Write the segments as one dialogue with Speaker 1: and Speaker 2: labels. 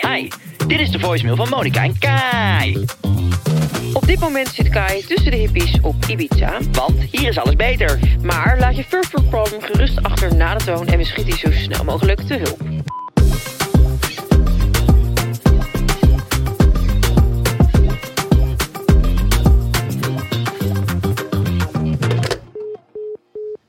Speaker 1: Hi, dit is de voicemail van Monica en Kai. Op dit moment zit Kai tussen de hippies op Ibiza, want hier is alles beter. Maar laat je First World Problem gerust achter na de toon en we schieten je zo snel mogelijk te hulp.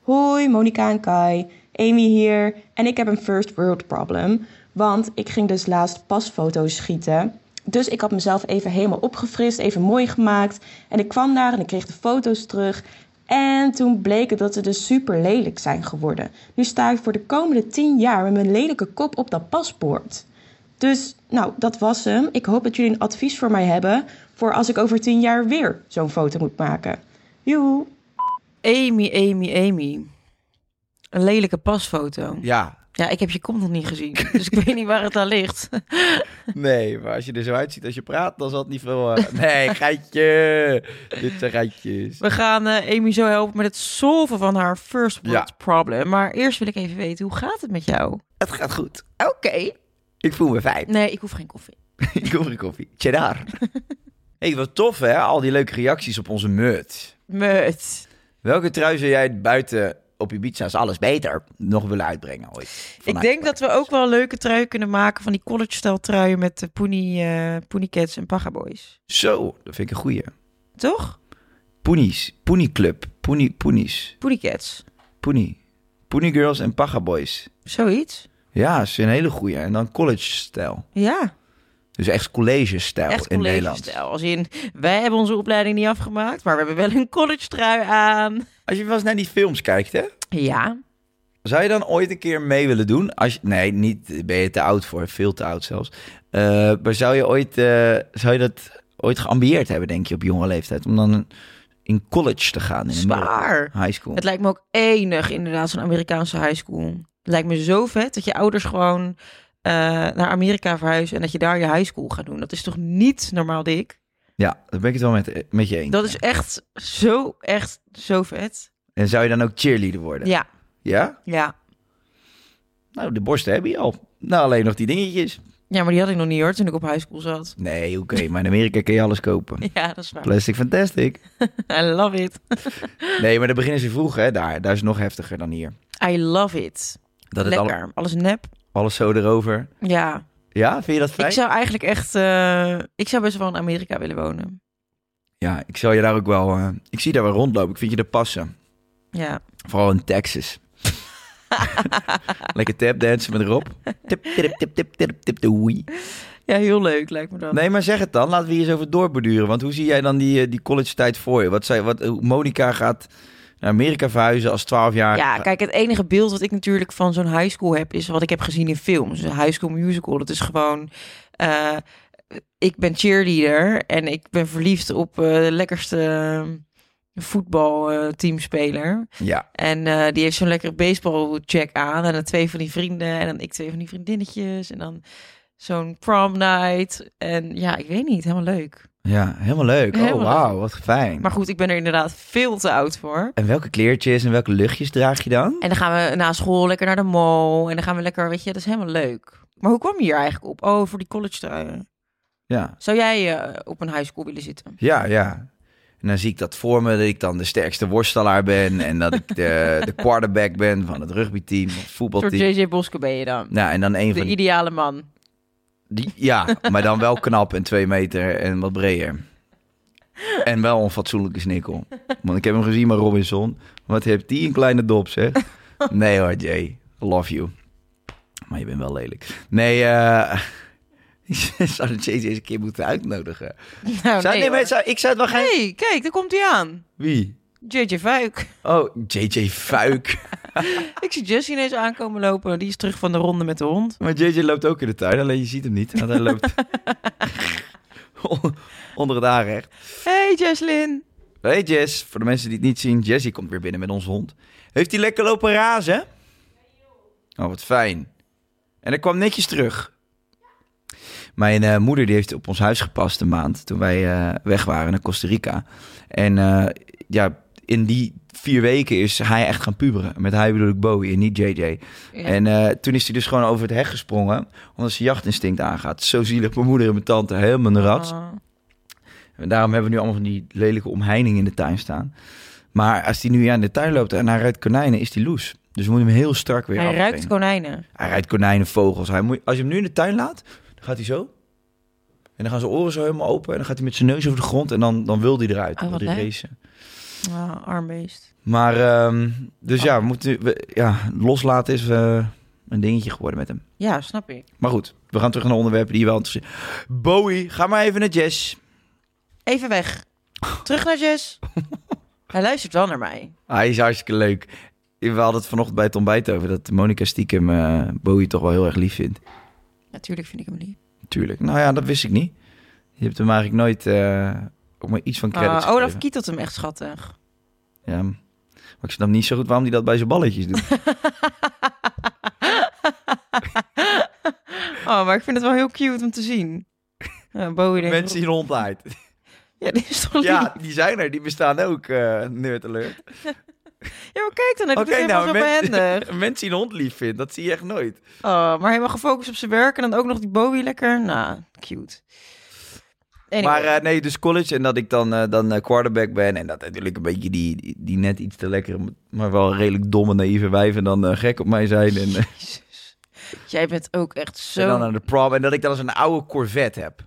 Speaker 2: Hoi, Monika en Kai. Amy hier. En ik heb een first world problem. Want ik ging dus laatst pasfoto's schieten. Dus ik had mezelf even helemaal opgefrist, even mooi gemaakt. En ik kwam daar en ik kreeg de foto's terug. En toen bleek het dat ze dus super lelijk zijn geworden. Nu sta ik voor de komende 10 jaar met mijn lelijke kop op dat paspoort. Dus, nou, dat was hem. Ik hoop dat jullie een advies voor mij hebben. Voor als ik over 10 jaar weer zo'n foto moet maken. Joehoe!
Speaker 3: Amy, Amy, Amy. Een lelijke pasfoto. Ja,
Speaker 4: Ja,
Speaker 3: ik heb je kont nog niet gezien, dus ik weet niet waar het aan ligt.
Speaker 4: nee, maar als je er zo uitziet als je praat, dan zal het niet veel... eh, Nee, geitje! Dit zijn geitjes.
Speaker 3: We gaan eh, Amy zo helpen met het solven van haar first world
Speaker 4: Ja.
Speaker 3: problem. Maar eerst wil ik even weten, hoe gaat het met jou?
Speaker 4: Het gaat goed. Oké. Ik voel me fijn.
Speaker 3: Nee, ik hoef geen koffie.
Speaker 4: ik hoef een koffie. Cheddar. hey, wat tof hè, al die leuke reacties op onze merch.
Speaker 3: Mut.
Speaker 4: Welke trui zou jij buiten op Ibiza is alles beter nog willen uitbrengen ooit?
Speaker 3: Ik denk dat we ook wel een leuke trui kunnen maken van die college-stijl truien met de Pony, eh Pony Cats en Paga Boys.
Speaker 4: Zo, dat vind ik een goeie.
Speaker 3: Toch?
Speaker 4: Poenies, Poenie Club, Poenie, Poenies,
Speaker 3: Pony Cats.
Speaker 4: Poenie. Poenie Girls en Paga Boys.
Speaker 3: Zoiets.
Speaker 4: Ja, is een hele goeie. En dan college-stijl.
Speaker 3: Ja,
Speaker 4: Dus echt college-stijl
Speaker 3: echt
Speaker 4: in
Speaker 3: college
Speaker 4: Nederland.
Speaker 3: stijl. Als in, wij hebben onze opleiding niet afgemaakt, maar we hebben wel een college trui aan.
Speaker 4: Als je wel eens naar die films kijkt, hè?
Speaker 3: Ja,
Speaker 4: Zou je dan ooit een keer mee willen doen? Als je, nee, niet, ben je te oud voor, veel te oud zelfs. Eh, maar zou je, ooit, eh, zou je dat ooit geambieerd hebben, denk je, op jonge leeftijd? Om dan in college te gaan in de
Speaker 3: Zwaar.
Speaker 4: middel- high school.
Speaker 3: Het lijkt me ook enig, inderdaad, zo'n Amerikaanse high school. Het lijkt me zo vet dat je ouders gewoon eh, naar Amerika verhuizen en dat je daar je high school gaat doen. Dat is toch niet normaal dik?
Speaker 4: Ja, daar ben ik het wel met, eh, met je eens.
Speaker 3: Dat is echt zo, echt zo vet.
Speaker 4: En zou je dan ook cheerleader worden?
Speaker 3: Ja,
Speaker 4: Ja?
Speaker 3: ja.
Speaker 4: Nou, de borsten heb je al. Nou, alleen nog die dingetjes.
Speaker 3: Ja, maar die had ik nog niet hoor toen ik op high school zat.
Speaker 4: Nee, oké, maar in Amerika kun je alles kopen.
Speaker 3: Ja, dat is waar.
Speaker 4: Plastic fantastic.
Speaker 3: I love it.
Speaker 4: Nee, maar daar beginnen ze vroeg, hè. Daar, daar is het nog heftiger dan hier.
Speaker 3: I love it.
Speaker 4: Dat het al-
Speaker 3: Lekker. Alles nep.
Speaker 4: alles zo erover.
Speaker 3: Ja.
Speaker 4: Ja, vind je dat fijn?
Speaker 3: Ik zou eigenlijk echt... eh, ik zou best wel in Amerika willen wonen.
Speaker 4: Ja, Ah, ik zou je daar ook wel... eh, ik zie daar wel rondlopen. Ik vind je er passen.
Speaker 3: Ja.
Speaker 4: Vooral in Texas. Lekker tapdansen met Rob. Tip, tip, tip, tip, tip, tip, doei.
Speaker 3: Ja, heel leuk lijkt me dat.
Speaker 4: Nee, maar zeg het dan. Laten we hier eens over doorborduren. Want hoe zie jij dan die, eh, die college tijd voor je? Wat zei, wat, hoe Monica gaat naar Amerika verhuizen als 12 jaar.
Speaker 3: Ja, kijk, het enige beeld wat ik natuurlijk van zo'n high school heb, is wat ik heb gezien in films. Dus Een high school musical. Dat is gewoon. eh, ik ben cheerleader en ik ben verliefd op eh, de lekkerste ehm, voetbalteamspeler.
Speaker 4: Ja,
Speaker 3: eh, En eh, die heeft zo'n lekkere baseballjack aan. En dan twee van die vrienden. En dan ik twee van die vriendinnetjes. En dan zo'n prom night. En ja, ik weet niet. Helemaal leuk.
Speaker 4: ja helemaal leuk.
Speaker 3: Helemaal
Speaker 4: oh, wauw. Wat fijn.
Speaker 3: Maar goed, ik ben er inderdaad veel te oud voor.
Speaker 4: En welke kleertjes en welke luchtjes draag je dan?
Speaker 3: En dan gaan we na school lekker naar de mall. En dan gaan we lekker, weet je, dat is helemaal leuk. Maar hoe kwam je hier eigenlijk op? Oh, voor die college truien.
Speaker 4: Ja,
Speaker 3: Zou jij eh, op een high school willen zitten?
Speaker 4: ja, ja.
Speaker 3: En dan zie ik dat voor me, dat ik dan de sterkste worstelaar ben. En dat ik de, de quarterback ben van het rugbyteam, of het
Speaker 1: Door
Speaker 3: voetbalteam.
Speaker 1: JJ Boske ben je dan.
Speaker 3: Nou, en dan een
Speaker 1: De
Speaker 3: van die,
Speaker 1: ideale man.
Speaker 3: die- Ja, maar dan wel knap en twee meter en wat breder. En wel een fatsoenlijke snikkel. Want ik heb hem gezien bij Robinson. Wat heeft die een kleine dop, zeg. Nee hoor, Jay. I Love you. Maar je bent wel lelijk. Nee, eh... Ik zou de Jay eens een keer moeten uitnodigen.
Speaker 1: Nou,
Speaker 3: Zou,
Speaker 1: nee,
Speaker 3: nee, maar
Speaker 1: hoor.
Speaker 3: zou- ik zou het wel geen...
Speaker 1: Hey, kijk, daar komt hij aan.
Speaker 3: Wie?
Speaker 1: JJ Fuik.
Speaker 3: Oh, JJ Fuik.
Speaker 1: Ik zie Jess ineens aankomen lopen. Die is terug van de ronde met de hond.
Speaker 3: Maar JJ loopt ook in de tuin, alleen je ziet hem niet. Want hij loopt on- onder het aanrecht.
Speaker 1: Hey Jesslyn.
Speaker 3: Hey Jess, voor de mensen die het niet zien, Jessie komt weer binnen met onze hond. Heeft hij lekker lopen razen? Oh, wat fijn. En hij kwam netjes terug. Mijn eh, moeder die heeft op ons huis gepast een maand toen wij eh, weg waren naar Costa Rica. En eh, ja, in die vier weken is hij echt gaan puberen. Met hij bedoel ik Bowie en niet JJ. En eh, toen is hij dus gewoon over het hek gesprongen, omdat zijn jachtinstinct aangaat. Zo zielig, mijn moeder en mijn tante helemaal een rat.
Speaker 1: Oh.
Speaker 3: En daarom hebben we nu allemaal van die lelijke omheining in de tuin staan. Maar als hij nu ja, in de tuin loopt en hij rijdt konijnen, is hij loes. Dus we moeten hem heel strak weer
Speaker 1: Hij ruikt
Speaker 3: aftrainen.
Speaker 1: konijnen.
Speaker 3: Hij rijdt konijnen, vogels. Hij moet, als je hem nu in de tuin laat, dan gaat hij zo. En dan gaan zijn oren zo helemaal open. En dan gaat hij met zijn neus over de grond. En dan, dan wil hij eruit.
Speaker 1: Oh,
Speaker 3: wil
Speaker 1: wat
Speaker 3: hij
Speaker 1: leuk.
Speaker 3: racen.
Speaker 1: Ah, arm beest.
Speaker 3: eh.
Speaker 1: Oh.
Speaker 3: Maar, ehm, dus ja, we moeten, we- ja, loslaten is eh, een dingetje geworden met hem.
Speaker 1: Ja, snap ik.
Speaker 3: Maar goed, we gaan terug naar onderwerpen die je wel interesseren. Bowie, ga maar even naar Jess.
Speaker 1: Even weg. Terug naar Jess. Hij luistert wel naar mij.
Speaker 3: Hij is hartstikke leuk. We hadden het vanochtend bij het ontbijt over dat Monica stiekem eh, Bowie toch wel heel erg lief vindt.
Speaker 1: Natuurlijk vind ik hem lief.
Speaker 3: Natuurlijk. Nou ja, dat wist ik niet. Je hebt hem eigenlijk nooit eh, ook maar iets van credits
Speaker 1: Ah, Olaf
Speaker 3: gegeven.
Speaker 1: kietelt hem echt schattig.
Speaker 3: Ja, maar ik snap niet zo goed waarom hij dat bij zijn balletjes doet.
Speaker 1: Oh, maar ik vind het wel heel cute om te zien. Ja, Bowie denkt...
Speaker 3: Mensen zien hond uit.
Speaker 1: Ja, dit is toch lief?
Speaker 3: Ja,
Speaker 1: Ja,
Speaker 3: die zijn er. Die bestaan ook, eh nerd alert. nou,
Speaker 1: maar kijk dan. Hij doet het helemaal zo behendig.
Speaker 3: mensen, mensen die een hond lief vindt, dat zie je echt nooit.
Speaker 1: Oh, maar helemaal gefocust op zijn werk en dan ook nog die Bowie lekker. Nou, cute. Anyway.
Speaker 3: Maar eh, nee, dus college en dat ik dan, eh, dan eh, quarterback ben. En dat natuurlijk een beetje die, die, die net iets te lekkere, maar wel redelijk domme, naïeve wijven dan eh, gek op mij zijn. En, eh,
Speaker 1: Jezus. Jij bent ook echt
Speaker 3: en
Speaker 1: zo...
Speaker 3: dan aan de prom. En dat ik dan als een oude Corvette heb.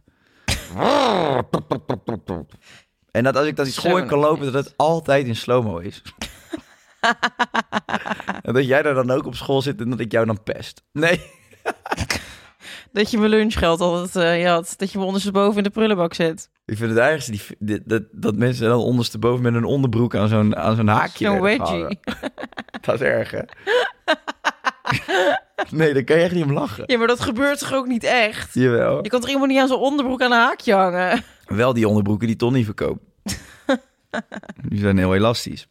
Speaker 3: en dat als ik dat iets
Speaker 1: Zo
Speaker 3: gooi kan lopen, dat het altijd in slow-mo is. en dat jij daar dan ook op school zit en dat ik jou dan pest. Nee.
Speaker 1: Dat je mijn lunchgeld altijd eh, je had. Dat je me ondersteboven in de prullenbak zet.
Speaker 3: Ik vind het ergste die, die- dat, dat mensen dan ondersteboven met hun onderbroek aan zo'n, aan zo'n haakje
Speaker 1: Zo'n
Speaker 3: werden
Speaker 1: wedgie.
Speaker 3: gehouden. Dat is erg, hè? nee, dan kan je echt niet om lachen.
Speaker 1: Ja, maar dat gebeurt toch ook niet echt?
Speaker 3: Jawel.
Speaker 1: Je kan toch iemand niet aan zijn onderbroek aan een haakje hangen?
Speaker 3: Wel die onderbroeken die Tony verkoopt. die zijn heel elastisch.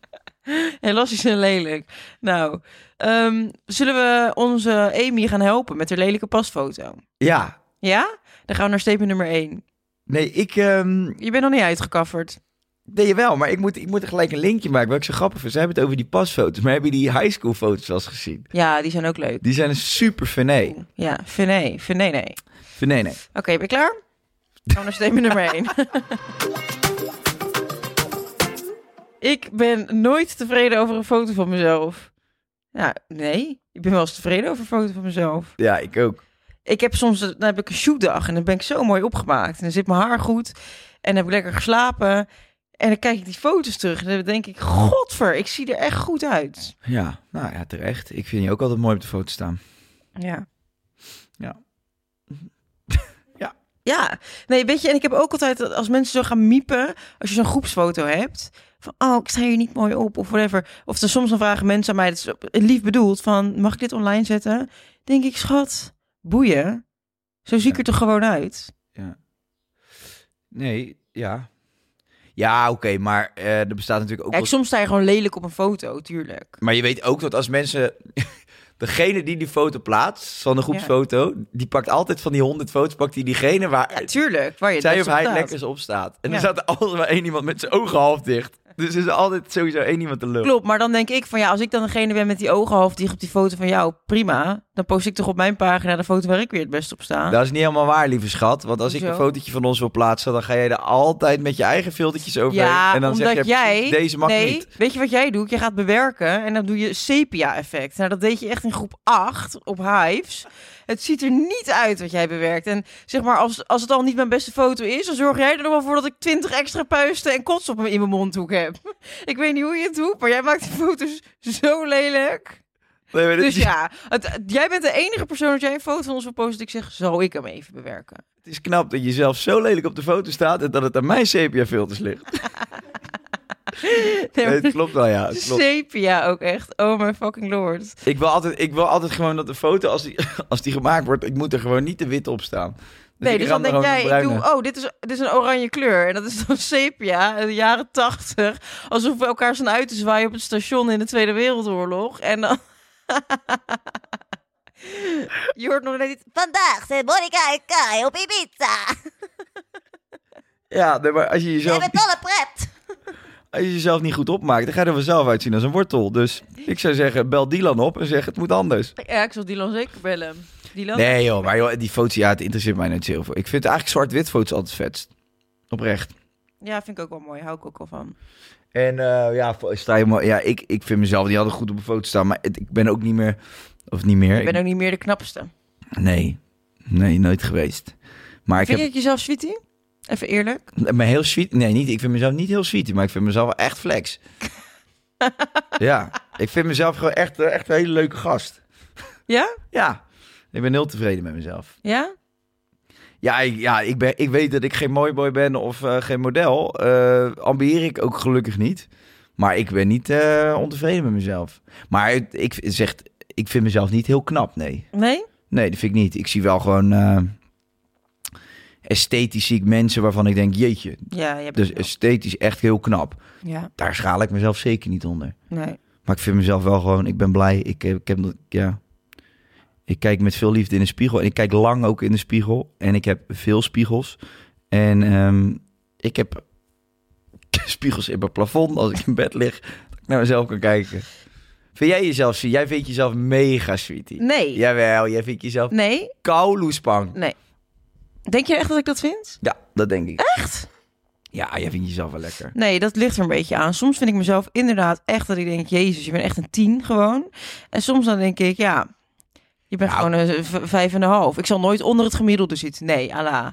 Speaker 1: Helastisch en lelijk. Nou, ehm, zullen we onze Amy gaan helpen met haar lelijke pasfoto?
Speaker 3: Ja.
Speaker 1: Ja? Dan gaan we naar statement nummer 1.
Speaker 3: Nee, ik... ehm
Speaker 1: Je bent nog niet uitgekafferd.
Speaker 3: nee, wel, maar ik moet, ik moet er gelijk een linkje maken. Wat ik zo grappig vind. Ze hebben het over die pasfoto's. Maar heb je die high school foto's al eens gezien?
Speaker 1: Ja, die zijn ook leuk.
Speaker 3: Die zijn super finé.
Speaker 1: Ja, Vené, Vené, nee. Oké,
Speaker 3: Finé, nee.
Speaker 1: ben je klaar? Gaan we naar statement nummer 1. ik ben nooit tevreden over een foto van mezelf. Ja, nee. Ik ben wel eens tevreden over een foto van mezelf.
Speaker 3: Ja, ik ook.
Speaker 1: ik heb soms dan heb ik een shootdag en dan ben ik zo mooi opgemaakt. En dan zit mijn haar goed en dan heb ik lekker geslapen. En dan kijk ik die foto's terug en dan denk ik, godver, ik zie er echt goed uit.
Speaker 3: Ja, nou ja, terecht. Ik vind je ook altijd mooi op de foto staan.
Speaker 1: Ja.
Speaker 3: Ja.
Speaker 1: Ja, nee, weet je, en ik heb ook altijd, dat als mensen zo gaan miepen, als je zo'n groepsfoto hebt, van, oh, ik sta hier niet mooi op, of whatever. Of dan soms dan vragen mensen aan mij, dat is op- lief bedoeld, van, mag ik dit online zetten? Dan denk ik, schat, boeien, zo zie ik er toch gewoon uit?
Speaker 3: Ja. Nee, ja. Ja, oké, maar eh, er bestaat natuurlijk ook...
Speaker 1: Kijk,
Speaker 3: wel-
Speaker 1: soms sta je gewoon lelijk op een foto, tuurlijk.
Speaker 3: Maar je weet ook dat als mensen... Degene die die foto plaatst, van de groepsfoto... die pakt altijd van die honderd foto's... pakt die diegene waar
Speaker 1: Ja, tuurlijk. Waar je
Speaker 3: zij
Speaker 1: het best
Speaker 3: of
Speaker 1: op
Speaker 3: hij
Speaker 1: staat.
Speaker 3: lekker op staat. En
Speaker 1: Ja.
Speaker 3: er staat altijd maar één iemand met zijn ogen half dicht. Dus er is altijd sowieso één iemand te lul.
Speaker 1: Klopt, maar dan denk ik van ja, als ik dan degene ben met die ogen half dicht op die foto van jou, prima. Dan post ik toch op mijn pagina de foto waar ik weer het best op sta.
Speaker 3: Dat is niet helemaal waar, lieve schat. Want als ik
Speaker 1: Hoezo?
Speaker 3: een fotootje van ons wil plaatsen, dan ga jij er altijd met je eigen filtertjes overheen.
Speaker 1: ja,
Speaker 3: en dan
Speaker 1: omdat
Speaker 3: zeg je,
Speaker 1: jij...
Speaker 3: deze mag
Speaker 1: nee,
Speaker 3: niet.
Speaker 1: weet je wat jij doet? Je gaat bewerken en dan doe je sepia-effect. Nou, dat deed je echt in groep 8 op Hives. Het ziet er niet uit wat jij bewerkt. En zeg maar, als, als het al niet mijn beste foto is, dan zorg jij er nog wel voor dat ik 20 extra puisten en kots op me in mijn mondhoek heb. Ik weet niet hoe je het doet, maar jij maakt die foto's zo lelijk.
Speaker 3: Nee, maar dit
Speaker 1: Dus
Speaker 3: is-
Speaker 1: ja, het- het- jij bent de enige persoon dat jij een foto van ons wil posten. dat Ik zeg, zal ik hem even bewerken?
Speaker 3: Het is knap dat je zelf zo lelijk op de foto staat en dat het aan mijn sepia-filters ligt.
Speaker 1: Nee,
Speaker 3: Nee,
Speaker 1: maar
Speaker 3: het klopt wel, ja. Het klopt.
Speaker 1: sepia ook echt. Oh my fucking lord.
Speaker 3: Ik wil, altijd, ik wil altijd gewoon dat de foto, als die, als die gemaakt wordt, ik moet er gewoon niet te wit op staan.
Speaker 1: nee,
Speaker 3: ik
Speaker 1: dus
Speaker 3: ram
Speaker 1: dan
Speaker 3: er
Speaker 1: denk
Speaker 3: gewoon
Speaker 1: jij,
Speaker 3: een
Speaker 1: ik doe,
Speaker 3: bruine.
Speaker 1: oh, dit is, dit is een oranje kleur. En dat is dan sepia, uit de jaren tachtig. Alsof we elkaar zijn uit te zwaaien op het station in de Tweede Wereldoorlog. En dan... Je hoort nog net niet...
Speaker 5: Vandaag zijn Monica en Kai op Ibiza.
Speaker 3: Ja, nee, maar als je,
Speaker 5: We
Speaker 3: jezelf,
Speaker 5: hebben het alle pret.
Speaker 3: als je jezelf niet goed opmaakt, dan ga je er vanzelf uitzien als een wortel. Dus ik zou zeggen, bel Dylan op en zeg, het moet anders.
Speaker 1: Ja, ik zal Dylan zeker bellen. Dylan?
Speaker 3: Nee joh, maar joh, die foto's, ja, het interesseert mij niet zo heel veel. Ik vind eigenlijk zwart-wit foto's altijd vetst. Oprecht.
Speaker 1: Ja, vind ik ook wel mooi. Hou ik ook wel van.
Speaker 3: En eh, ja, vo- sta je maar, ja ik, ik vind mezelf niet altijd goed op een foto staan, maar het- ik ben ook niet meer, of niet meer.
Speaker 1: Ik ben ook niet meer de knapste.
Speaker 3: Nee, nee, nooit geweest. Maar ik
Speaker 1: Vind je
Speaker 3: heb
Speaker 1: het jezelf sweetie? Even eerlijk.
Speaker 3: me heel sweet, nee, niet, ik vind mezelf niet heel sweet, maar ik vind mezelf wel echt flex. ja, ik vind mezelf gewoon echt, eh, echt een hele leuke gast.
Speaker 1: Ja?
Speaker 3: Ja, ik ben heel tevreden met mezelf.
Speaker 1: Ja?
Speaker 3: Ja, ik, ja ik, ben, ik weet dat ik geen mooi boy ben of eh, geen model. Eh ambieer ik ook gelukkig niet. Maar ik ben niet eh, ontevreden met mezelf. Maar het- ik, zeg, ik vind mezelf niet heel knap, nee.
Speaker 1: Nee?
Speaker 3: Nee, dat vind ik niet. Ik zie wel gewoon... eh, esthetisch zie ik mensen waarvan ik denk, jeetje.
Speaker 1: Ja, je hebt
Speaker 3: Dus
Speaker 1: het wel.
Speaker 3: esthetisch echt heel knap.
Speaker 1: Ja,
Speaker 3: Daar schaal ik mezelf zeker niet onder.
Speaker 1: nee.
Speaker 3: Maar ik vind mezelf wel gewoon... Ik ben blij. Ik, eh, ik heb... dat- Ja... Ik kijk met veel liefde in de spiegel. En ik kijk lang ook in de spiegel. En ik heb veel spiegels. En ehm, ik heb spiegels in mijn plafond als ik in bed lig. Dat ik naar mezelf kan kijken. Vind jij jezelf sweet? Jij vindt jezelf mega sweetie.
Speaker 1: Nee.
Speaker 3: Jawel, jij vindt jezelf
Speaker 1: Nee?
Speaker 3: kouloespang.
Speaker 1: Nee. Denk je echt dat ik dat vind?
Speaker 3: Ja, dat denk ik.
Speaker 1: Echt?
Speaker 3: Ja, jij vindt jezelf wel lekker.
Speaker 1: Nee, dat ligt er een beetje aan. Soms vind ik mezelf inderdaad echt dat ik denk... Jezus, je bent echt een tien gewoon. En soms dan denk ik, ja... Je bent
Speaker 4: Nou.
Speaker 1: gewoon een v- vijf en een half. Ik zal nooit onder het gemiddelde zitten. Nee, Allah.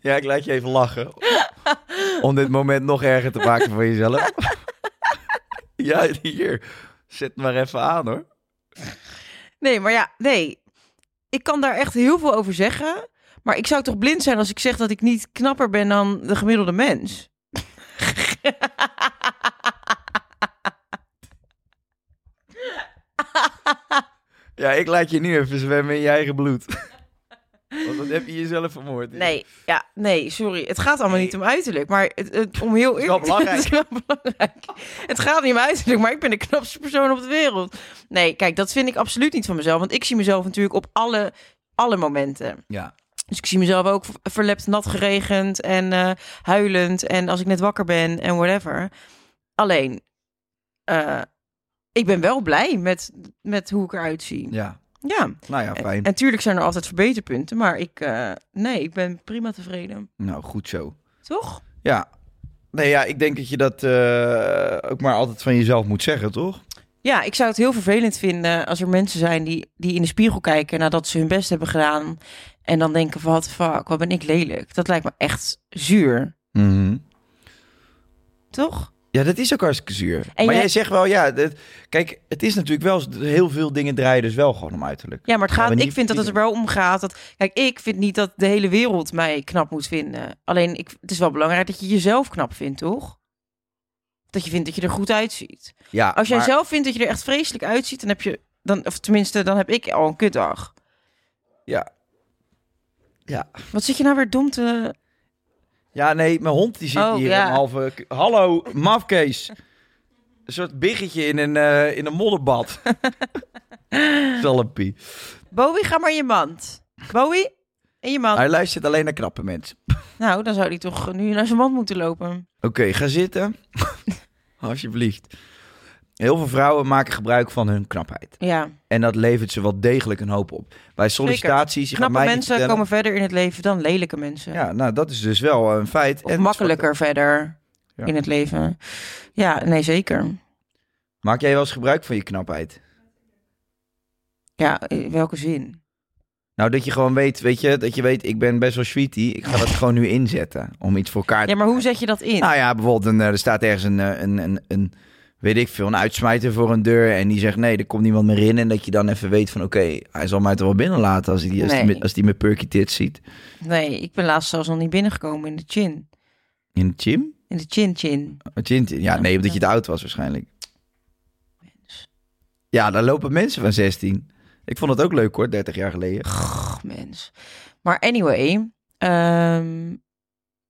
Speaker 3: Ja, ik laat je even lachen. Om dit moment nog erger te maken voor jezelf. ja, hier. Zet maar even aan hoor.
Speaker 1: Nee, maar ja, nee. Ik kan daar echt heel veel over zeggen. Maar ik zou toch blind zijn als ik zeg dat ik niet knapper ben dan de gemiddelde mens.
Speaker 3: Ja, ik laat je nu even zwemmen in je eigen bloed. Want dan heb je jezelf vermoord.
Speaker 1: Nee, ja, nee, sorry. Het gaat allemaal niet om uiterlijk. Maar het, het- om heel
Speaker 3: is wel
Speaker 1: eerlijk te-
Speaker 3: belangrijk.
Speaker 1: het is wel belangrijk. Het gaat niet om uiterlijk, maar ik ben de knapste persoon op de wereld. Nee, kijk, dat vind ik absoluut niet van mezelf. Want ik zie mezelf natuurlijk op alle, alle momenten.
Speaker 3: Ja.
Speaker 1: Dus ik zie mezelf ook ver- verlept, nat geregend en eh, huilend. En als ik net wakker ben en whatever. Alleen, eh, ik ben wel blij met, met hoe ik eruit zie. Ja.
Speaker 3: ja. Nou ja,
Speaker 1: En
Speaker 3: fijn.
Speaker 1: natuurlijk zijn er altijd verbeterpunten. Maar ik, eh, nee, ik ben prima tevreden.
Speaker 3: Nou, goed zo.
Speaker 1: Toch?
Speaker 3: Ja. Nee, ja, ik denk dat je dat eh, ook maar altijd van jezelf moet zeggen, toch?
Speaker 1: Ja, ik zou het heel vervelend vinden als er mensen zijn die, die in de spiegel kijken nadat ze hun best hebben gedaan. En dan denken van, what the fuck, wat ben ik lelijk. Dat lijkt me echt zuur. Toch?
Speaker 3: Mhm. Ja, dat is ook hartstikke zuur.
Speaker 1: En jij-
Speaker 3: maar jij zegt wel, ja, dat- kijk, het is natuurlijk wel, heel veel dingen draaien dus wel gewoon om uiterlijk.
Speaker 1: Ja, maar het
Speaker 3: Gaan
Speaker 1: gaat,
Speaker 3: we
Speaker 1: ik
Speaker 3: niet
Speaker 1: vind dat het er
Speaker 3: verbieden.
Speaker 1: wel om gaat. Dat, kijk, ik vind niet dat de hele wereld mij knap moet vinden. Alleen ik, het is wel belangrijk dat je jezelf knap vindt, toch? Dat je vindt dat je er goed uitziet.
Speaker 3: Ja,
Speaker 1: Als jij
Speaker 3: maar-
Speaker 1: zelf vindt dat je er echt vreselijk uitziet, dan heb je, dan, of tenminste, dan heb ik al een kutdag.
Speaker 3: Ja. Ja.
Speaker 1: Wat zit je nou weer dom te.
Speaker 3: Ja, nee, mijn hond die zit
Speaker 1: Oh,
Speaker 3: hier
Speaker 1: ja.
Speaker 3: een halve... k- Hallo, mafkees. Een soort biggetje in een, eh, in een modderbad. Zellepie.
Speaker 1: Bowie, ga maar in je mand. Bowie, En je man,
Speaker 3: Hij luistert alleen naar knappe mensen.
Speaker 1: nou, dan zou hij toch nu naar zijn man moeten lopen.
Speaker 3: Oké, ga zitten. Alsjeblieft. Heel veel vrouwen maken gebruik van hun knapheid.
Speaker 1: Ja,
Speaker 3: En dat levert ze wel degelijk een hoop op. Bij sollicitaties... je gaat
Speaker 1: knappe
Speaker 3: mij niet
Speaker 1: mensen
Speaker 3: vertellen-
Speaker 1: komen verder in het leven dan lelijke mensen.
Speaker 3: Ja, nou, dat is dus wel een feit.
Speaker 1: of
Speaker 3: En-
Speaker 1: makkelijker verder
Speaker 3: Ja.
Speaker 1: in het leven. Ja, nee, zeker.
Speaker 3: Maak jij wel eens gebruik van je knapheid?
Speaker 1: Ja, in welke zin?
Speaker 3: Nou, dat je gewoon weet, weet je, dat je weet, ik ben best wel sweetie. Ik ga dat gewoon nu inzetten om iets voor elkaar te
Speaker 1: Ja, Ah. maar hoe zet je dat in?
Speaker 3: Nou ja, bijvoorbeeld een, eh, er staat ergens een, eh, een, een, een, weet ik veel, een uitsmijter voor een deur. En die zegt, nee, er komt niemand meer in. En dat je dan even weet van, oké, hij zal mij toch wel binnenlaten als hij, als,
Speaker 1: Nee.
Speaker 3: die, met- als die mijn perky tits ziet.
Speaker 1: Nee, ik ben laatst zelfs nog niet binnengekomen in de chin.
Speaker 3: In de gym?
Speaker 1: In de chin-chin.
Speaker 3: Oh, gym? Ja, nee, omdat je te oud was waarschijnlijk. Ja, daar lopen mensen van 16. Ik vond het ook leuk hoor, 30 jaar geleden.
Speaker 1: Och, mens. Maar anyway, ehm,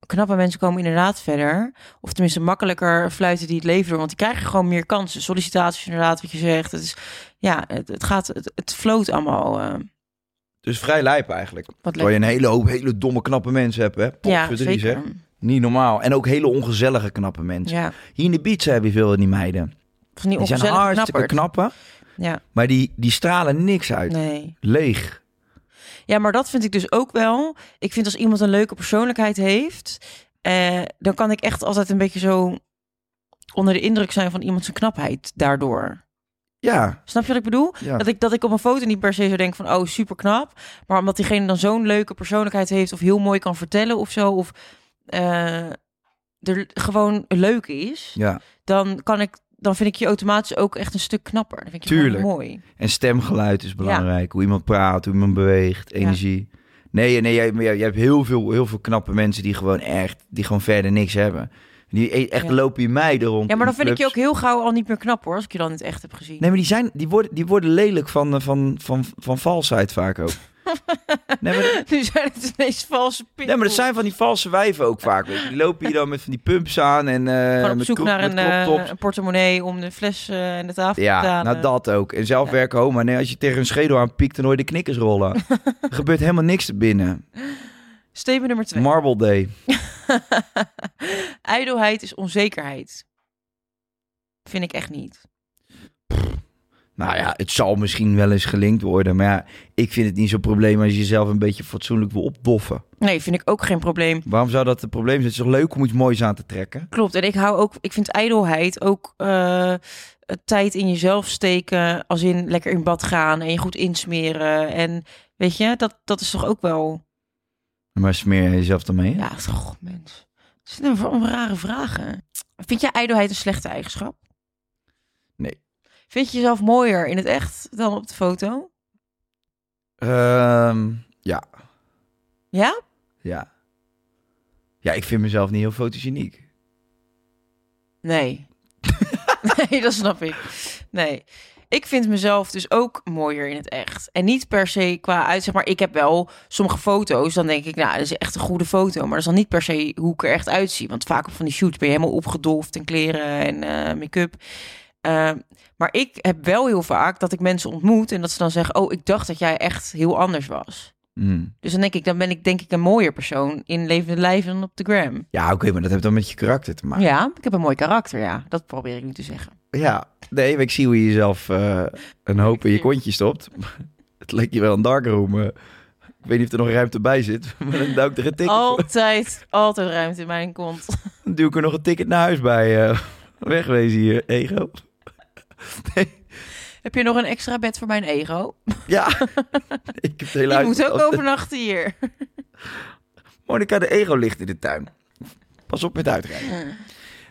Speaker 1: knappe mensen komen inderdaad verder. Of tenminste makkelijker fluiten die het leven door. Want die krijgen gewoon meer kansen. Sollicitaties inderdaad, wat je zegt. Het is, ja, het, het gaat, het, het floot allemaal. eh.
Speaker 3: Dus vrij lijp eigenlijk. Terwijl je
Speaker 1: lekker.
Speaker 3: een hele hoop hele domme knappe mensen hebt, hè?
Speaker 1: ja,
Speaker 3: Potverdrie,
Speaker 1: zeker.
Speaker 3: zeg. Niet normaal. En ook hele ongezellige knappe mensen.
Speaker 1: Ja,
Speaker 3: Hier in de beach hebben we veel van die meiden.
Speaker 1: van die
Speaker 3: Die zijn
Speaker 1: ongezellige
Speaker 3: hartstikke
Speaker 1: knapperd.
Speaker 3: knappen.
Speaker 1: Ja,
Speaker 3: Maar die, die stralen niks uit.
Speaker 1: nee.
Speaker 3: Leeg.
Speaker 1: Ja, maar dat vind ik dus ook wel. Ik vind als iemand een leuke persoonlijkheid heeft, eh, dan kan ik echt altijd een beetje zo onder de indruk zijn van iemand zijn knapheid daardoor.
Speaker 3: Ja.
Speaker 1: Snap je wat ik bedoel?
Speaker 3: Ja.
Speaker 1: Dat, ik, dat ik op een foto niet per se zo denk van, oh, super knap. Maar omdat diegene dan zo'n leuke persoonlijkheid heeft of heel mooi kan vertellen of zo. Of eh, er gewoon leuk is.
Speaker 3: ja.
Speaker 1: Dan, kan ik, dan vind ik je automatisch ook echt een stuk knapper. Dan vind ik je gewoon
Speaker 3: Tuurlijk.
Speaker 1: mooi.
Speaker 3: En stemgeluid is belangrijk. Hoe iemand praat, hoe iemand beweegt, energie. Nee, nee jij, maar jij, jij hebt heel veel, heel veel knappe mensen die gewoon echt, die gewoon verder niks hebben. Die e- echt
Speaker 1: Ja.
Speaker 3: lopen in meiden rond.
Speaker 1: Ja, maar
Speaker 3: in
Speaker 1: dan vind ik je ook
Speaker 3: clubs.
Speaker 1: heel gauw al niet meer knap hoor, als ik je dan in het echt heb gezien.
Speaker 3: Nee, maar die, zijn, die, worden, die worden lelijk van, eh, van, van, van valsheid vaak ook. nee, maar dat-
Speaker 1: Nu zijn het ineens valse pinten.
Speaker 3: Nee, maar dat zijn van die valse wijven ook vaak. weet je. Die lopen hier dan met van die pumps aan en eh,
Speaker 1: Gewoon op
Speaker 3: met
Speaker 1: zoek
Speaker 3: kro-
Speaker 1: naar
Speaker 3: met
Speaker 1: een, eh,
Speaker 3: croptops.
Speaker 1: een portemonnee om de fles eh, en de tafel te
Speaker 3: Ja,
Speaker 1: betalen.
Speaker 3: nou dat ook. En zelf werken homo. Nee, als je tegen een schedel aan piekt, dan hoor je de knikkers rollen. er gebeurt helemaal niks binnen.
Speaker 1: Statement nummer twee.
Speaker 3: Marble Day.
Speaker 1: Ijdelheid is onzekerheid. Vind ik echt niet.
Speaker 3: Nou ja, het zal misschien wel eens gelinkt worden. Maar ja, ik vind het niet zo'n probleem als je jezelf een beetje fatsoenlijk wil opdoffen.
Speaker 1: Nee, vind ik ook geen probleem.
Speaker 3: Waarom zou dat een probleem zijn? Het is toch leuk om iets moois aan te trekken?
Speaker 1: Klopt. En ik hou ook, ik vind ijdelheid ook eh, het tijd in jezelf steken. Als in lekker in bad gaan en je goed insmeren. En weet je, dat, dat is toch ook wel.
Speaker 3: Maar smeer je jezelf dan mee?
Speaker 1: Ja, toch, mens. Het zijn allemaal rare vragen. Vind jij ijdelheid een slechte eigenschap?
Speaker 3: Nee.
Speaker 1: Vind je jezelf mooier in het echt dan op de foto?
Speaker 3: Ehm, ja,
Speaker 1: Ja?
Speaker 3: ja. Ja, ik vind mezelf niet heel fotogeniek.
Speaker 1: Nee. nee, dat snap ik. Nee. Ik vind mezelf dus ook mooier in het echt. En niet per se qua uit, zeg maar, ik heb wel sommige foto's, dan denk ik, nou, dat is echt een goede foto. Maar dat is dan niet per se hoe ik er echt uitzie. Want vaak op van die shoots ben je helemaal opgedolfd in kleren en eh, make-up. Eh, maar ik heb wel heel vaak dat ik mensen ontmoet en dat ze dan zeggen, oh, ik dacht dat jij echt heel anders was.
Speaker 3: Mm.
Speaker 1: Dus dan denk ik, dan ben ik denk ik een mooier persoon in levende lijven dan op de gram.
Speaker 3: Ja, oké, maar dat heeft dan met je karakter te maken.
Speaker 1: Ja, ik heb een mooi karakter, ja. Dat probeer ik nu te zeggen.
Speaker 3: Ja, nee, maar ik zie hoe je jezelf eh, een hoop in je kontje stopt. Het leek je wel een darkroom. eh. ik weet niet of er nog ruimte bij zit, maar dan duw ik er een ticket,
Speaker 1: Oh. Altijd, altijd ruimte in mijn kont.
Speaker 3: dan duw ik er nog een ticket naar huis bij. eh. wegwezen hier, ego.
Speaker 1: Heb je nog een extra bed voor mijn ego?
Speaker 3: Ja, ik heb het hele
Speaker 1: Ik
Speaker 3: huis.
Speaker 1: moet ook
Speaker 3: altijd-
Speaker 1: overnachten hier.
Speaker 3: Monica, de ego ligt in de tuin. Pas op met uitrijden.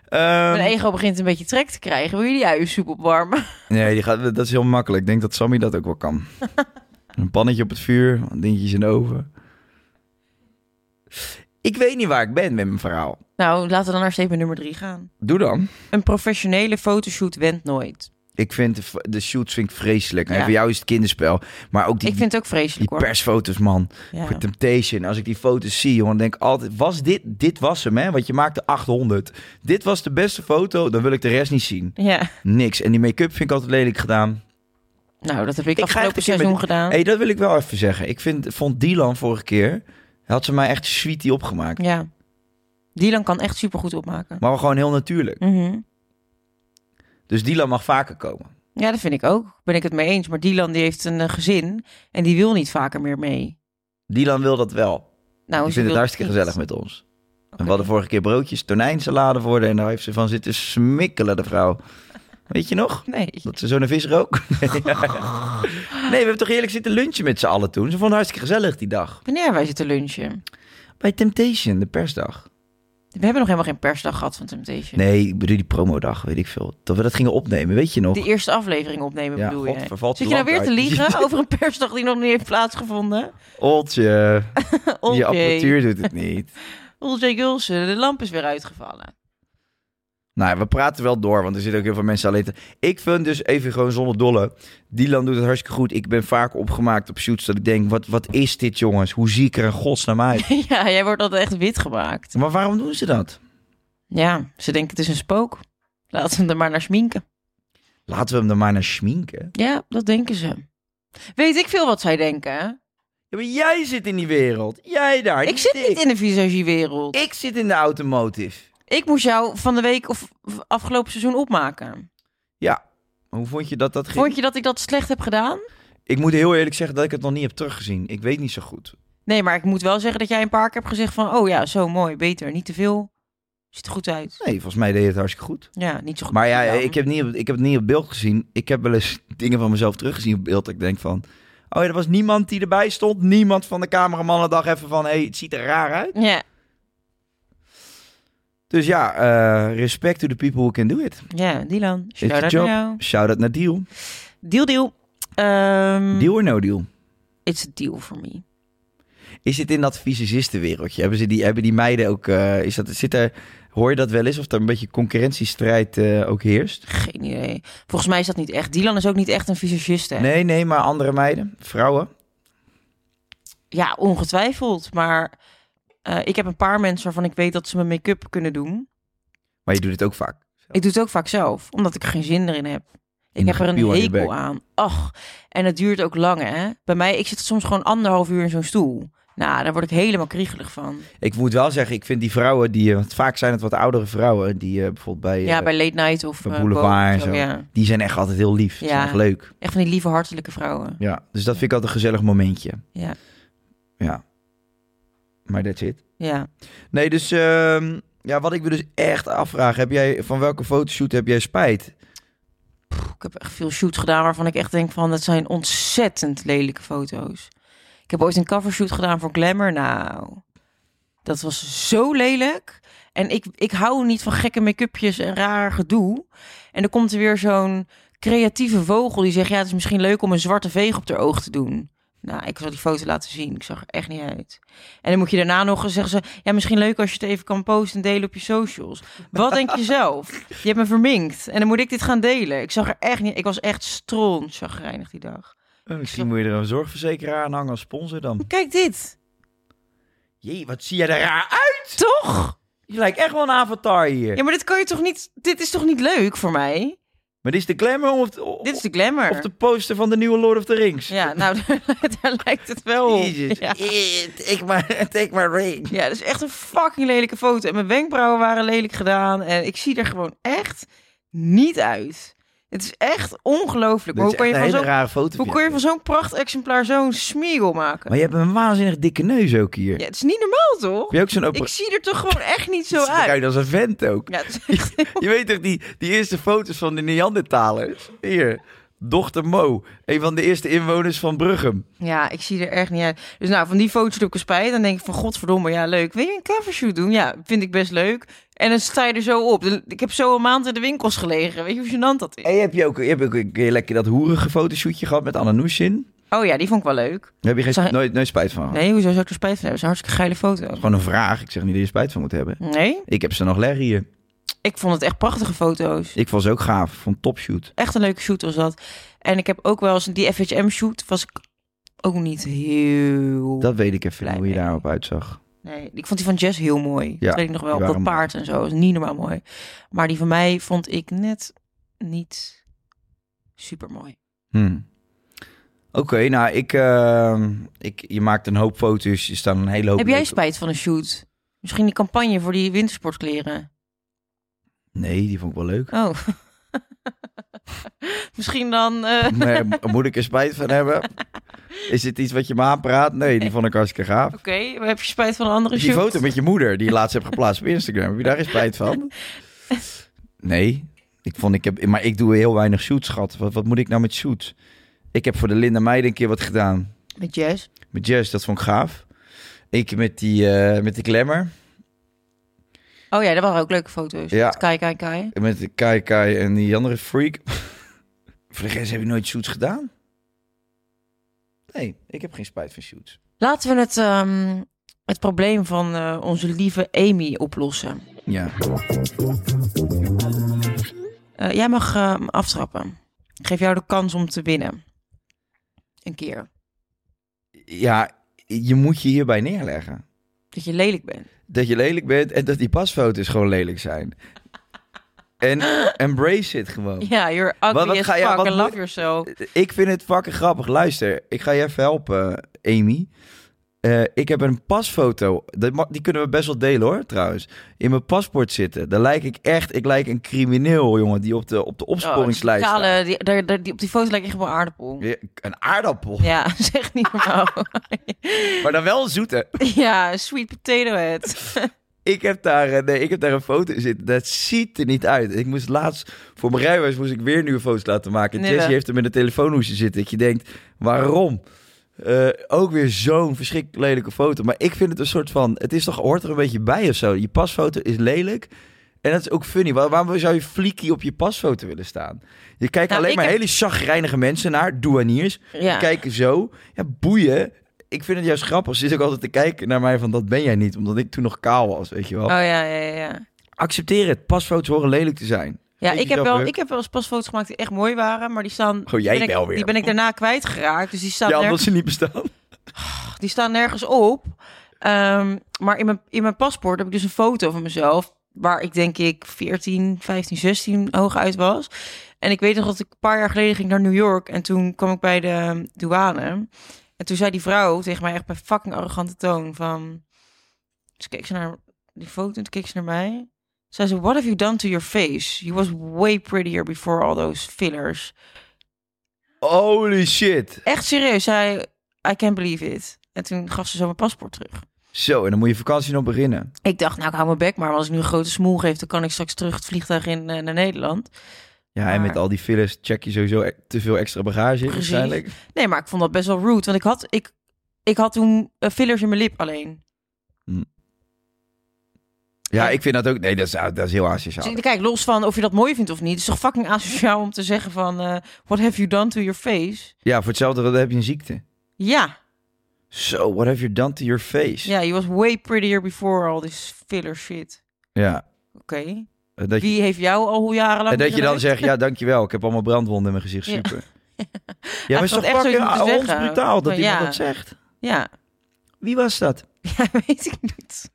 Speaker 1: Mijn
Speaker 3: Ehm,
Speaker 1: ego begint een beetje trek te krijgen. Wil je die uiensoep opwarmen?
Speaker 3: nee, die gaat, dat is heel makkelijk. Ik denk dat Sammy dat ook wel kan. Een pannetje op het vuur, dingetjes in de oven. Ik weet niet waar ik ben met mijn verhaal.
Speaker 1: Nou, laten we dan naar statement nummer drie gaan.
Speaker 3: Doe dan.
Speaker 1: Een professionele fotoshoot wendt nooit.
Speaker 3: Ik vind de, v- de shoots vind ik vreselijk. En
Speaker 1: Ja.
Speaker 3: voor jou is het kinderspel. Maar ook die,
Speaker 1: Ik vind het ook
Speaker 3: die
Speaker 1: vreselijk hoor.
Speaker 3: persfoto's, man.
Speaker 1: Ja.
Speaker 3: Voor Temptation. Als ik die foto's zie, jongen, denk ik altijd... Was dit, dit was hem, hè? Want je maakte 800. Dit was de beste foto, dan wil ik de rest niet zien.
Speaker 1: ja,
Speaker 3: Niks. En die make-up vind ik altijd lelijk gedaan.
Speaker 1: Nou, dat heb ik,
Speaker 3: ga echt
Speaker 1: afgelopen
Speaker 3: een keer
Speaker 1: seizoen
Speaker 3: met-
Speaker 1: gedaan.
Speaker 3: hey, dat wil ik wel even zeggen. Ik vind, vond Dylan vorige keer... hij Had ze mij echt sweetie opgemaakt.
Speaker 1: Ja. Dylan kan echt supergoed opmaken.
Speaker 3: Maar wel gewoon heel natuurlijk.
Speaker 1: Mhm.
Speaker 3: Dus Dylan mag vaker komen.
Speaker 1: Ja, dat vind ik ook. Ben ik het mee eens. Maar Dylan die heeft een eh, gezin en die wil niet vaker meer mee.
Speaker 3: Dylan wil dat wel.
Speaker 1: Nou,
Speaker 3: Ik
Speaker 1: ze
Speaker 3: vind het
Speaker 1: wil
Speaker 3: hartstikke
Speaker 1: niet.
Speaker 3: gezellig met ons. En we hadden vorige keer broodjes, tonijnsalade voor haar En daar heeft ze van zitten smikkelen, de vrouw. Weet je nog?
Speaker 1: Nee.
Speaker 3: Dat ze zo naar vis rook. nee, we hebben toch eerlijk zitten lunchen met z'n allen toen. Ze vonden het hartstikke gezellig die dag.
Speaker 1: Wanneer wij zitten lunchen?
Speaker 3: Bij Temptation, de persdag.
Speaker 1: We hebben nog helemaal geen persdag gehad van Temptation.
Speaker 3: Nee, ik bedoel die promodag, weet ik veel. Dat we dat gingen opnemen, weet je nog?
Speaker 1: De eerste aflevering opnemen
Speaker 3: Ja,
Speaker 1: bedoel
Speaker 3: God,
Speaker 1: je?
Speaker 3: vervalt
Speaker 1: Zit je nou
Speaker 3: land
Speaker 1: weer te
Speaker 3: uit.
Speaker 1: liegen over een persdag die nog niet heeft plaatsgevonden?
Speaker 3: Oltje, je
Speaker 1: Oké.
Speaker 3: apparatuur doet het niet.
Speaker 1: Olje Gulsen, de lamp is weer uitgevallen.
Speaker 3: Nou, we praten wel door, want er zitten ook heel veel mensen alleen te... Ik vind dus even gewoon zonder dolle. Dylan doet het hartstikke goed. Ik ben vaak opgemaakt op shoots dat ik denk... Wat, wat is dit, jongens? Hoe zie ik er in godsnaam uit?
Speaker 1: ja, jij wordt altijd echt wit gemaakt.
Speaker 3: maar waarom doen ze dat?
Speaker 1: Ja, ze denken het is een spook. Laten ze hem er maar naar sminken.
Speaker 3: Laten we hem er maar naar schminken.
Speaker 1: Ja, dat denken ze. Weet ik veel wat zij denken. hè?
Speaker 3: Ja, maar jij zit in die wereld. Jij daar.
Speaker 1: Ik zit niet in de visagiewereld.
Speaker 3: Ik zit in de automotive.
Speaker 1: Ik moest jou van de week of of afgelopen seizoen opmaken.
Speaker 3: Ja. Maar hoe vond je dat dat ging?
Speaker 1: Vond je dat ik dat slecht heb gedaan?
Speaker 3: Ik moet heel eerlijk zeggen dat ik het nog niet heb teruggezien. Ik weet niet zo goed.
Speaker 1: Nee, maar ik moet wel zeggen dat jij een paar keer hebt gezegd van... Oh ja, zo mooi, beter, niet te veel. Ziet er goed uit.
Speaker 3: Nee, volgens mij deed je het hartstikke goed.
Speaker 1: Ja, niet zo goed.
Speaker 3: Maar ja,
Speaker 1: gedaan.
Speaker 3: ik heb, niet op, ik heb het niet op beeld gezien. Ik heb wel eens dingen van mezelf teruggezien op beeld. Dat ik denk van... Oh ja, er was niemand die erbij stond. Niemand van de cameramannen dacht even van... Hé, hey, het ziet er raar uit.
Speaker 1: Ja,
Speaker 3: Dus ja, eh, respect to the people who can do it.
Speaker 1: ja Dylan.
Speaker 3: It's a
Speaker 1: Shout-out naar jou.
Speaker 3: job. Shout-out naar Deal.
Speaker 1: Deal, deal. Ehm,
Speaker 3: Deal or no deal.
Speaker 1: It's a deal for me.
Speaker 3: Is dit in dat fysizistenwereldje? Hebben, ze die, hebben die meiden ook... eh, is dat, zit er, hoor je dat wel eens? Of er een beetje concurrentiestrijd eh, ook heerst?
Speaker 1: Geen idee. Volgens mij is dat niet echt. Dylan is ook niet echt een visagist, hè?
Speaker 3: Nee, nee, maar andere meiden. Vrouwen.
Speaker 1: Ja, ongetwijfeld. Maar eh, ik heb een paar mensen waarvan ik weet dat ze mijn make-up kunnen doen.
Speaker 3: Maar je doet het ook vaak.
Speaker 1: Ik doe het ook vaak zelf, omdat ik er geen zin erin heb. Ik
Speaker 3: In
Speaker 1: heb er
Speaker 3: gepiel
Speaker 1: een
Speaker 3: aan je
Speaker 1: hekel
Speaker 3: bek.
Speaker 1: aan. Ach, en het duurt ook lang, hè? Bij mij, ik zit soms gewoon anderhalf uur in zo'n stoel. Nou, daar word ik helemaal kriegelig van.
Speaker 3: Ik moet wel zeggen, ik vind die vrouwen die, eh, want vaak zijn het wat oudere vrouwen, die eh, bijvoorbeeld bij,
Speaker 1: Ja,
Speaker 3: eh,
Speaker 1: bij late night of
Speaker 3: bij
Speaker 1: eh,
Speaker 3: Boulevard en
Speaker 1: Bo-
Speaker 3: zo,
Speaker 1: Ja.
Speaker 3: die zijn echt altijd heel lief. Ja.
Speaker 1: Ja.
Speaker 3: Zijn echt leuk.
Speaker 1: Echt van die lieve, hartelijke vrouwen.
Speaker 3: Ja, dus dat vind ik altijd een gezellig momentje.
Speaker 1: Ja,
Speaker 3: Ja. Maar that's it.
Speaker 1: ja.
Speaker 3: Nee, dus ehm, ja, wat ik me dus echt afvraag, heb jij, van welke fotoshoot heb jij spijt?
Speaker 1: Ik heb echt veel shoots gedaan waarvan ik echt denk van... dat zijn ontzettend lelijke foto's. Ik heb ooit een covershoot gedaan voor Glamour. Nou, dat was zo lelijk. En ik, ik hou niet van gekke make-upjes en raar gedoe. En dan komt er weer zo'n creatieve vogel die zegt... ja, het is misschien leuk om een zwarte veeg op haar oog te doen. Nou, ik zal die foto laten zien. Ik zag er echt niet uit. En dan moet je daarna nog eens zeggen ze... ja, misschien leuk als je het even kan posten en delen op je socials. Wat denk je zelf? Je hebt me verminkt. En dan moet ik dit gaan delen. Ik zag er echt niet... Ik was echt stront chagrijnig die dag.
Speaker 3: Eh, misschien moet je er een zorgverzekeraar aan hangen als sponsor dan.
Speaker 1: Kijk dit.
Speaker 3: Jee, wat zie jij er raar uit?
Speaker 1: Toch?
Speaker 3: Je lijkt echt wel een avatar hier.
Speaker 1: Ja, maar dit kan je toch niet... Dit is toch niet leuk voor mij?
Speaker 3: Maar dit is de glamour of, de-
Speaker 1: Dit is de glamour.
Speaker 3: of de poster van de nieuwe Lord of the Rings. Oh.
Speaker 1: Ja, nou, daar, daar lijkt het wel op.
Speaker 3: Jezus.
Speaker 1: Ja.
Speaker 3: Eh, Take my, take my ring.
Speaker 1: ja, dat is echt een fucking lelijke foto. En mijn wenkbrauwen waren lelijk gedaan. En ik zie er gewoon echt niet uit. Het is echt ongelooflijk. Maar
Speaker 3: Dit
Speaker 1: Hoe kan
Speaker 3: is
Speaker 1: je
Speaker 3: echt
Speaker 1: van
Speaker 3: een hele
Speaker 1: zo'n...
Speaker 3: rare foto.
Speaker 1: Hoe kun
Speaker 3: van
Speaker 1: je
Speaker 3: jou.
Speaker 1: van zo'n prachtexemplaar zo'n smiegel maken?
Speaker 3: Maar je hebt een waanzinnig dikke neus ook hier.
Speaker 1: Ja, het is niet normaal, toch?
Speaker 3: Heb je ook zo'n
Speaker 1: Ik
Speaker 3: opera-
Speaker 1: zie er toch gewoon echt niet zo
Speaker 3: Het ziet
Speaker 1: uit.
Speaker 3: eruit als een vent ook.
Speaker 1: Ja, het is echt heel-
Speaker 3: Je weet toch die, die eerste foto's van de Neandertalers? Hier, dochter Mo. Een van de eerste inwoners van Bruggem.
Speaker 1: Ja, ik zie er echt niet uit. Dus nou, van die foto's doe ik een spijt. Dan denk ik van, godverdomme, ja, leuk. Wil je een covershoot doen? Ja, vind ik best leuk. En dan sta je er zo op. Ik heb zo een maand in de winkels gelegen. Weet je hoe gênant dat is?
Speaker 3: En heb je ook, je hebt ook een keer lekker dat hoerige fotoshootje gehad met Ananushin?
Speaker 1: Oh ja, die vond ik wel leuk.
Speaker 3: Daar heb je geen,
Speaker 1: Zag-
Speaker 3: nooit, nooit spijt van gehad?
Speaker 1: Nee, hoezo zou ik er spijt van hebben? Dat is een hartstikke geile foto.
Speaker 3: Gewoon een vraag. Ik zeg niet dat je spijt van moet hebben.
Speaker 1: Nee,
Speaker 3: Ik heb ze nog leggen hier.
Speaker 1: ik vond het echt prachtige foto's.
Speaker 3: Ik vond ze ook gaaf. Ik Vond topshoot.
Speaker 1: Echt een leuke shoot was dat. En ik heb ook wel eens die FHM-shoot. Was ik ook niet heel...
Speaker 3: Dat weet ik even
Speaker 1: Blij
Speaker 3: niet hoe je
Speaker 1: mee.
Speaker 3: daarop uitzag.
Speaker 1: Nee, ik vond die van Jess heel mooi.
Speaker 3: Ja,
Speaker 1: dat weet ik nog wel. Op
Speaker 3: die
Speaker 1: dat
Speaker 3: waren mooi.
Speaker 1: paard en zo. Dat is niet normaal mooi. Maar die van mij vond ik net niet super mooi.
Speaker 3: Hmm. Oké, nou, ik, eh, ik, je maakt een hoop foto's. Je staat een hele hoop...
Speaker 1: Heb jij
Speaker 3: leuke-
Speaker 1: spijt van een shoot? Misschien die campagne voor die wintersportkleren.
Speaker 3: Nee, die vond ik wel leuk.
Speaker 1: Oh. Misschien dan. eh, Oké.
Speaker 3: Maar moet ik er spijt van hebben? Is dit iets wat je me aanpraat? Nee, die vond ik hartstikke gaaf.
Speaker 1: maar heb je spijt van een andere
Speaker 3: Die
Speaker 1: shoot?
Speaker 3: foto met je moeder die je laatst hebt geplaatst op Instagram. Heb je daar geen spijt van? Nee. Ik vond, ik heb, maar ik doe heel weinig shoots, schat. Wat, wat moet ik nou met shoots? Ik heb voor de Linda Meijden een keer wat gedaan.
Speaker 1: Met Jess.
Speaker 3: Met Jess, dat vond ik gaaf. Ik met die, eh met die glamour.
Speaker 1: Oh ja, dat waren ook leuke foto's.
Speaker 3: Ja.
Speaker 1: Met Kai, Kai, Kai.
Speaker 3: En Met de Kai Kai en die andere freak. voor de rest heb ik nooit shoots gedaan. Nee, ik heb geen spijt van shoots.
Speaker 1: Laten we het, ehm, het probleem van eh, onze lieve Amy oplossen.
Speaker 3: Ja.
Speaker 1: Eh, jij mag eh, aftrappen. Ik geef jou de kans om te winnen. Een keer.
Speaker 3: ja, je moet je hierbij neerleggen.
Speaker 1: Dat je lelijk bent.
Speaker 3: dat je lelijk bent en dat die pasfoto's gewoon lelijk zijn. En embrace it gewoon.
Speaker 1: Ja, you're ugly
Speaker 3: Wat- wat
Speaker 1: as
Speaker 3: ga je-
Speaker 1: fuck
Speaker 3: wat
Speaker 1: and love
Speaker 3: moet-
Speaker 1: yourself. Oh,
Speaker 3: Ik vind het fucking grappig. Luister, ik ga je even helpen, Amy. Eh, ik heb een pasfoto. Dat ma- Die kunnen we best wel delen hoor, trouwens. In mijn paspoort zitten. Daar lijk ik echt. Ik lijk een crimineel, jongen. Die op de, op de opsporingslijst.
Speaker 1: Oh, die
Speaker 3: staat.
Speaker 1: kale, die, daar, daar, die, op die foto lijkt echt op een aardappel. Ja,
Speaker 3: Ja, Een aardappel.
Speaker 1: zeg niet normaal.
Speaker 3: Maar dan wel een zoete.
Speaker 1: ja, sweet potato head.
Speaker 3: Ik heb daar, eh, nee, ik heb daar een foto in zitten. Dat ziet er niet uit. Ik moest laatst voor mijn rijbewijs moest ik weer nieuwe foto's laten maken.
Speaker 1: Nee,
Speaker 3: Jessie
Speaker 1: wel.
Speaker 3: heeft er met een telefoonhoesje zitten. Dat je denkt, waarom? Eh, ook weer zo'n verschrikkelijk lelijke foto. Maar ik vind het een soort van, het is toch hoort er een beetje bij of zo. Je pasfoto is lelijk. En dat is ook funny. Waar- waarom zou je fliekie op je pasfoto willen staan? Je kijkt
Speaker 1: Nou,
Speaker 3: alleen
Speaker 1: ik
Speaker 3: maar
Speaker 1: heb-
Speaker 3: hele chagrijnige mensen naar, douaniers.
Speaker 1: Ja.
Speaker 3: Kijken zo. Ja, boeien. Ik vind het juist grappig. Ze zit ook altijd te kijken naar mij van, dat ben jij niet. Omdat ik toen nog kaal was, weet je wel.
Speaker 1: Oh ja, ja, ja, ja.
Speaker 3: Accepteer het. Pasfoto's horen lelijk te zijn.
Speaker 1: Ja, ik
Speaker 3: Geef
Speaker 1: heb,
Speaker 3: jezelf
Speaker 1: wel,
Speaker 3: rug.
Speaker 1: ik heb wel eens pasfoto's gemaakt die echt mooi waren, maar die staan...
Speaker 3: Oh, jij
Speaker 1: die ben ik-
Speaker 3: wel weer.
Speaker 1: Die ben ik daarna kwijtgeraakt, dus die staan,
Speaker 3: Ja, omdat
Speaker 1: nergens,
Speaker 3: ze niet bestaan.
Speaker 1: die staan nergens op. Ehm, maar in mijn, in mijn paspoort heb ik dus een foto van mezelf, waar ik denk ik 14, 15, 16 hooguit was. En ik weet nog dat ik een paar jaar geleden ging naar New York en toen kwam ik bij de douane. En toen zei die vrouw tegen mij echt bij fucking arrogante toon van... Dus keek ze naar die foto en toen keek ze naar mij. Zei ze, what have you done to your face? You was way prettier before all those fillers.
Speaker 3: Holy shit.
Speaker 1: Echt serieus, zei I can't believe it. En toen gaf ze zo mijn paspoort terug.
Speaker 3: Zo, en dan moet je vakantie nog beginnen.
Speaker 1: Ik dacht, nou ik hou mijn bek maar, want als ik nu een grote smoel geef... dan kan ik straks terug het vliegtuig in eh, naar Nederland.
Speaker 3: Ja, en
Speaker 1: Maar-
Speaker 3: met al die fillers check je sowieso e- te veel extra bagage in
Speaker 1: Precies.
Speaker 3: waarschijnlijk.
Speaker 1: Nee, maar ik vond dat best wel rude, want ik had, ik, ik had toen eh, fillers in mijn lip
Speaker 3: Oh.
Speaker 1: alleen.
Speaker 3: Ja,
Speaker 1: Ja.
Speaker 3: ik vind dat ook... Nee, dat is, dat is heel asociaal.
Speaker 1: Dus kijk, los van of je dat mooi vindt of niet... het is toch fucking asociaal om te zeggen van... eh, what have you done to your face?
Speaker 3: Ja, voor hetzelfde dan heb je een ziekte.
Speaker 1: Ja,
Speaker 3: Zo, what have you done to your face?
Speaker 1: Ja, je was way prettier before all this filler shit.
Speaker 3: Ja,
Speaker 1: Oké.
Speaker 3: eh, dat je,
Speaker 1: Wie heeft jou al hoe jarenlang
Speaker 3: en dat je dan
Speaker 1: misleid?
Speaker 3: zegt, ja, dankjewel. Ik heb allemaal brandwonden in mijn gezicht.
Speaker 1: Ja.
Speaker 3: Super. Ja, maar het
Speaker 1: had
Speaker 3: is toch
Speaker 1: echt zoiets
Speaker 3: fucking
Speaker 1: moeten
Speaker 3: ons
Speaker 1: zeggen.
Speaker 3: brutaal dat
Speaker 1: Maar
Speaker 3: iemand
Speaker 1: ja.
Speaker 3: dat zegt.
Speaker 1: Ja.
Speaker 3: Wie was dat?
Speaker 1: ja, weet ik niet.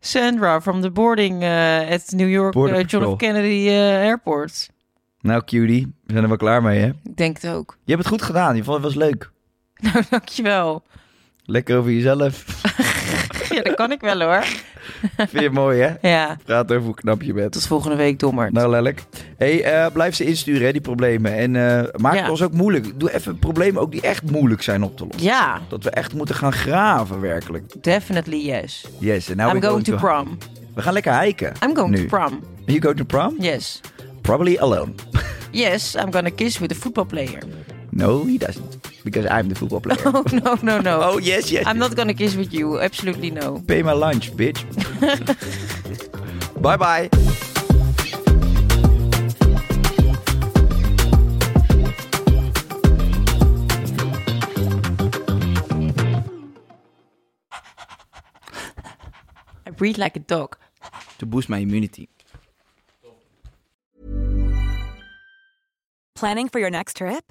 Speaker 1: Sandra from the boarding eh, at New York eh,
Speaker 3: Border
Speaker 1: John
Speaker 3: Patrol.
Speaker 1: F. Kennedy eh, Airport.
Speaker 3: Nou, cutie. We zijn er wel klaar mee, hè?
Speaker 1: Ik denk het ook.
Speaker 3: Je hebt het goed gedaan. Je vond het was leuk.
Speaker 1: Nou, dankjewel.
Speaker 3: Lekker over jezelf.
Speaker 1: Ja, dat kan ik wel hoor.
Speaker 3: Vind je het mooi, hè?
Speaker 1: Ja.
Speaker 3: Praat over hoe knap je bent.
Speaker 1: Tot volgende week, dommer.
Speaker 3: Nou, lelijk. hey, eh, blijf ze insturen, hè, die problemen. En eh, maak
Speaker 1: Ja.
Speaker 3: het ons ook moeilijk. Doe even problemen ook die echt moeilijk zijn op te lossen.
Speaker 1: Ja,
Speaker 3: Dat we echt moeten gaan graven, werkelijk.
Speaker 1: definitely yes.
Speaker 3: Yes, en nou
Speaker 1: I'm
Speaker 3: ik
Speaker 1: going to
Speaker 3: ook-
Speaker 1: prom.
Speaker 3: We gaan lekker hiken.
Speaker 1: I'm going
Speaker 3: nu.
Speaker 1: to prom.
Speaker 3: You go to prom?
Speaker 1: Yes.
Speaker 3: Probably alone.
Speaker 1: Yes, I'm gonna kiss with a football player.
Speaker 3: No, he doesn't. Because I'm the football player.
Speaker 1: Oh, no, no, no.
Speaker 3: Oh, yes, yes.
Speaker 1: I'm not gonna kiss with you. Absolutely no.
Speaker 3: Pay my lunch, bitch. Bye-bye.
Speaker 1: I breathe like a dog.
Speaker 3: To boost my immunity.
Speaker 6: Planning for your next trip?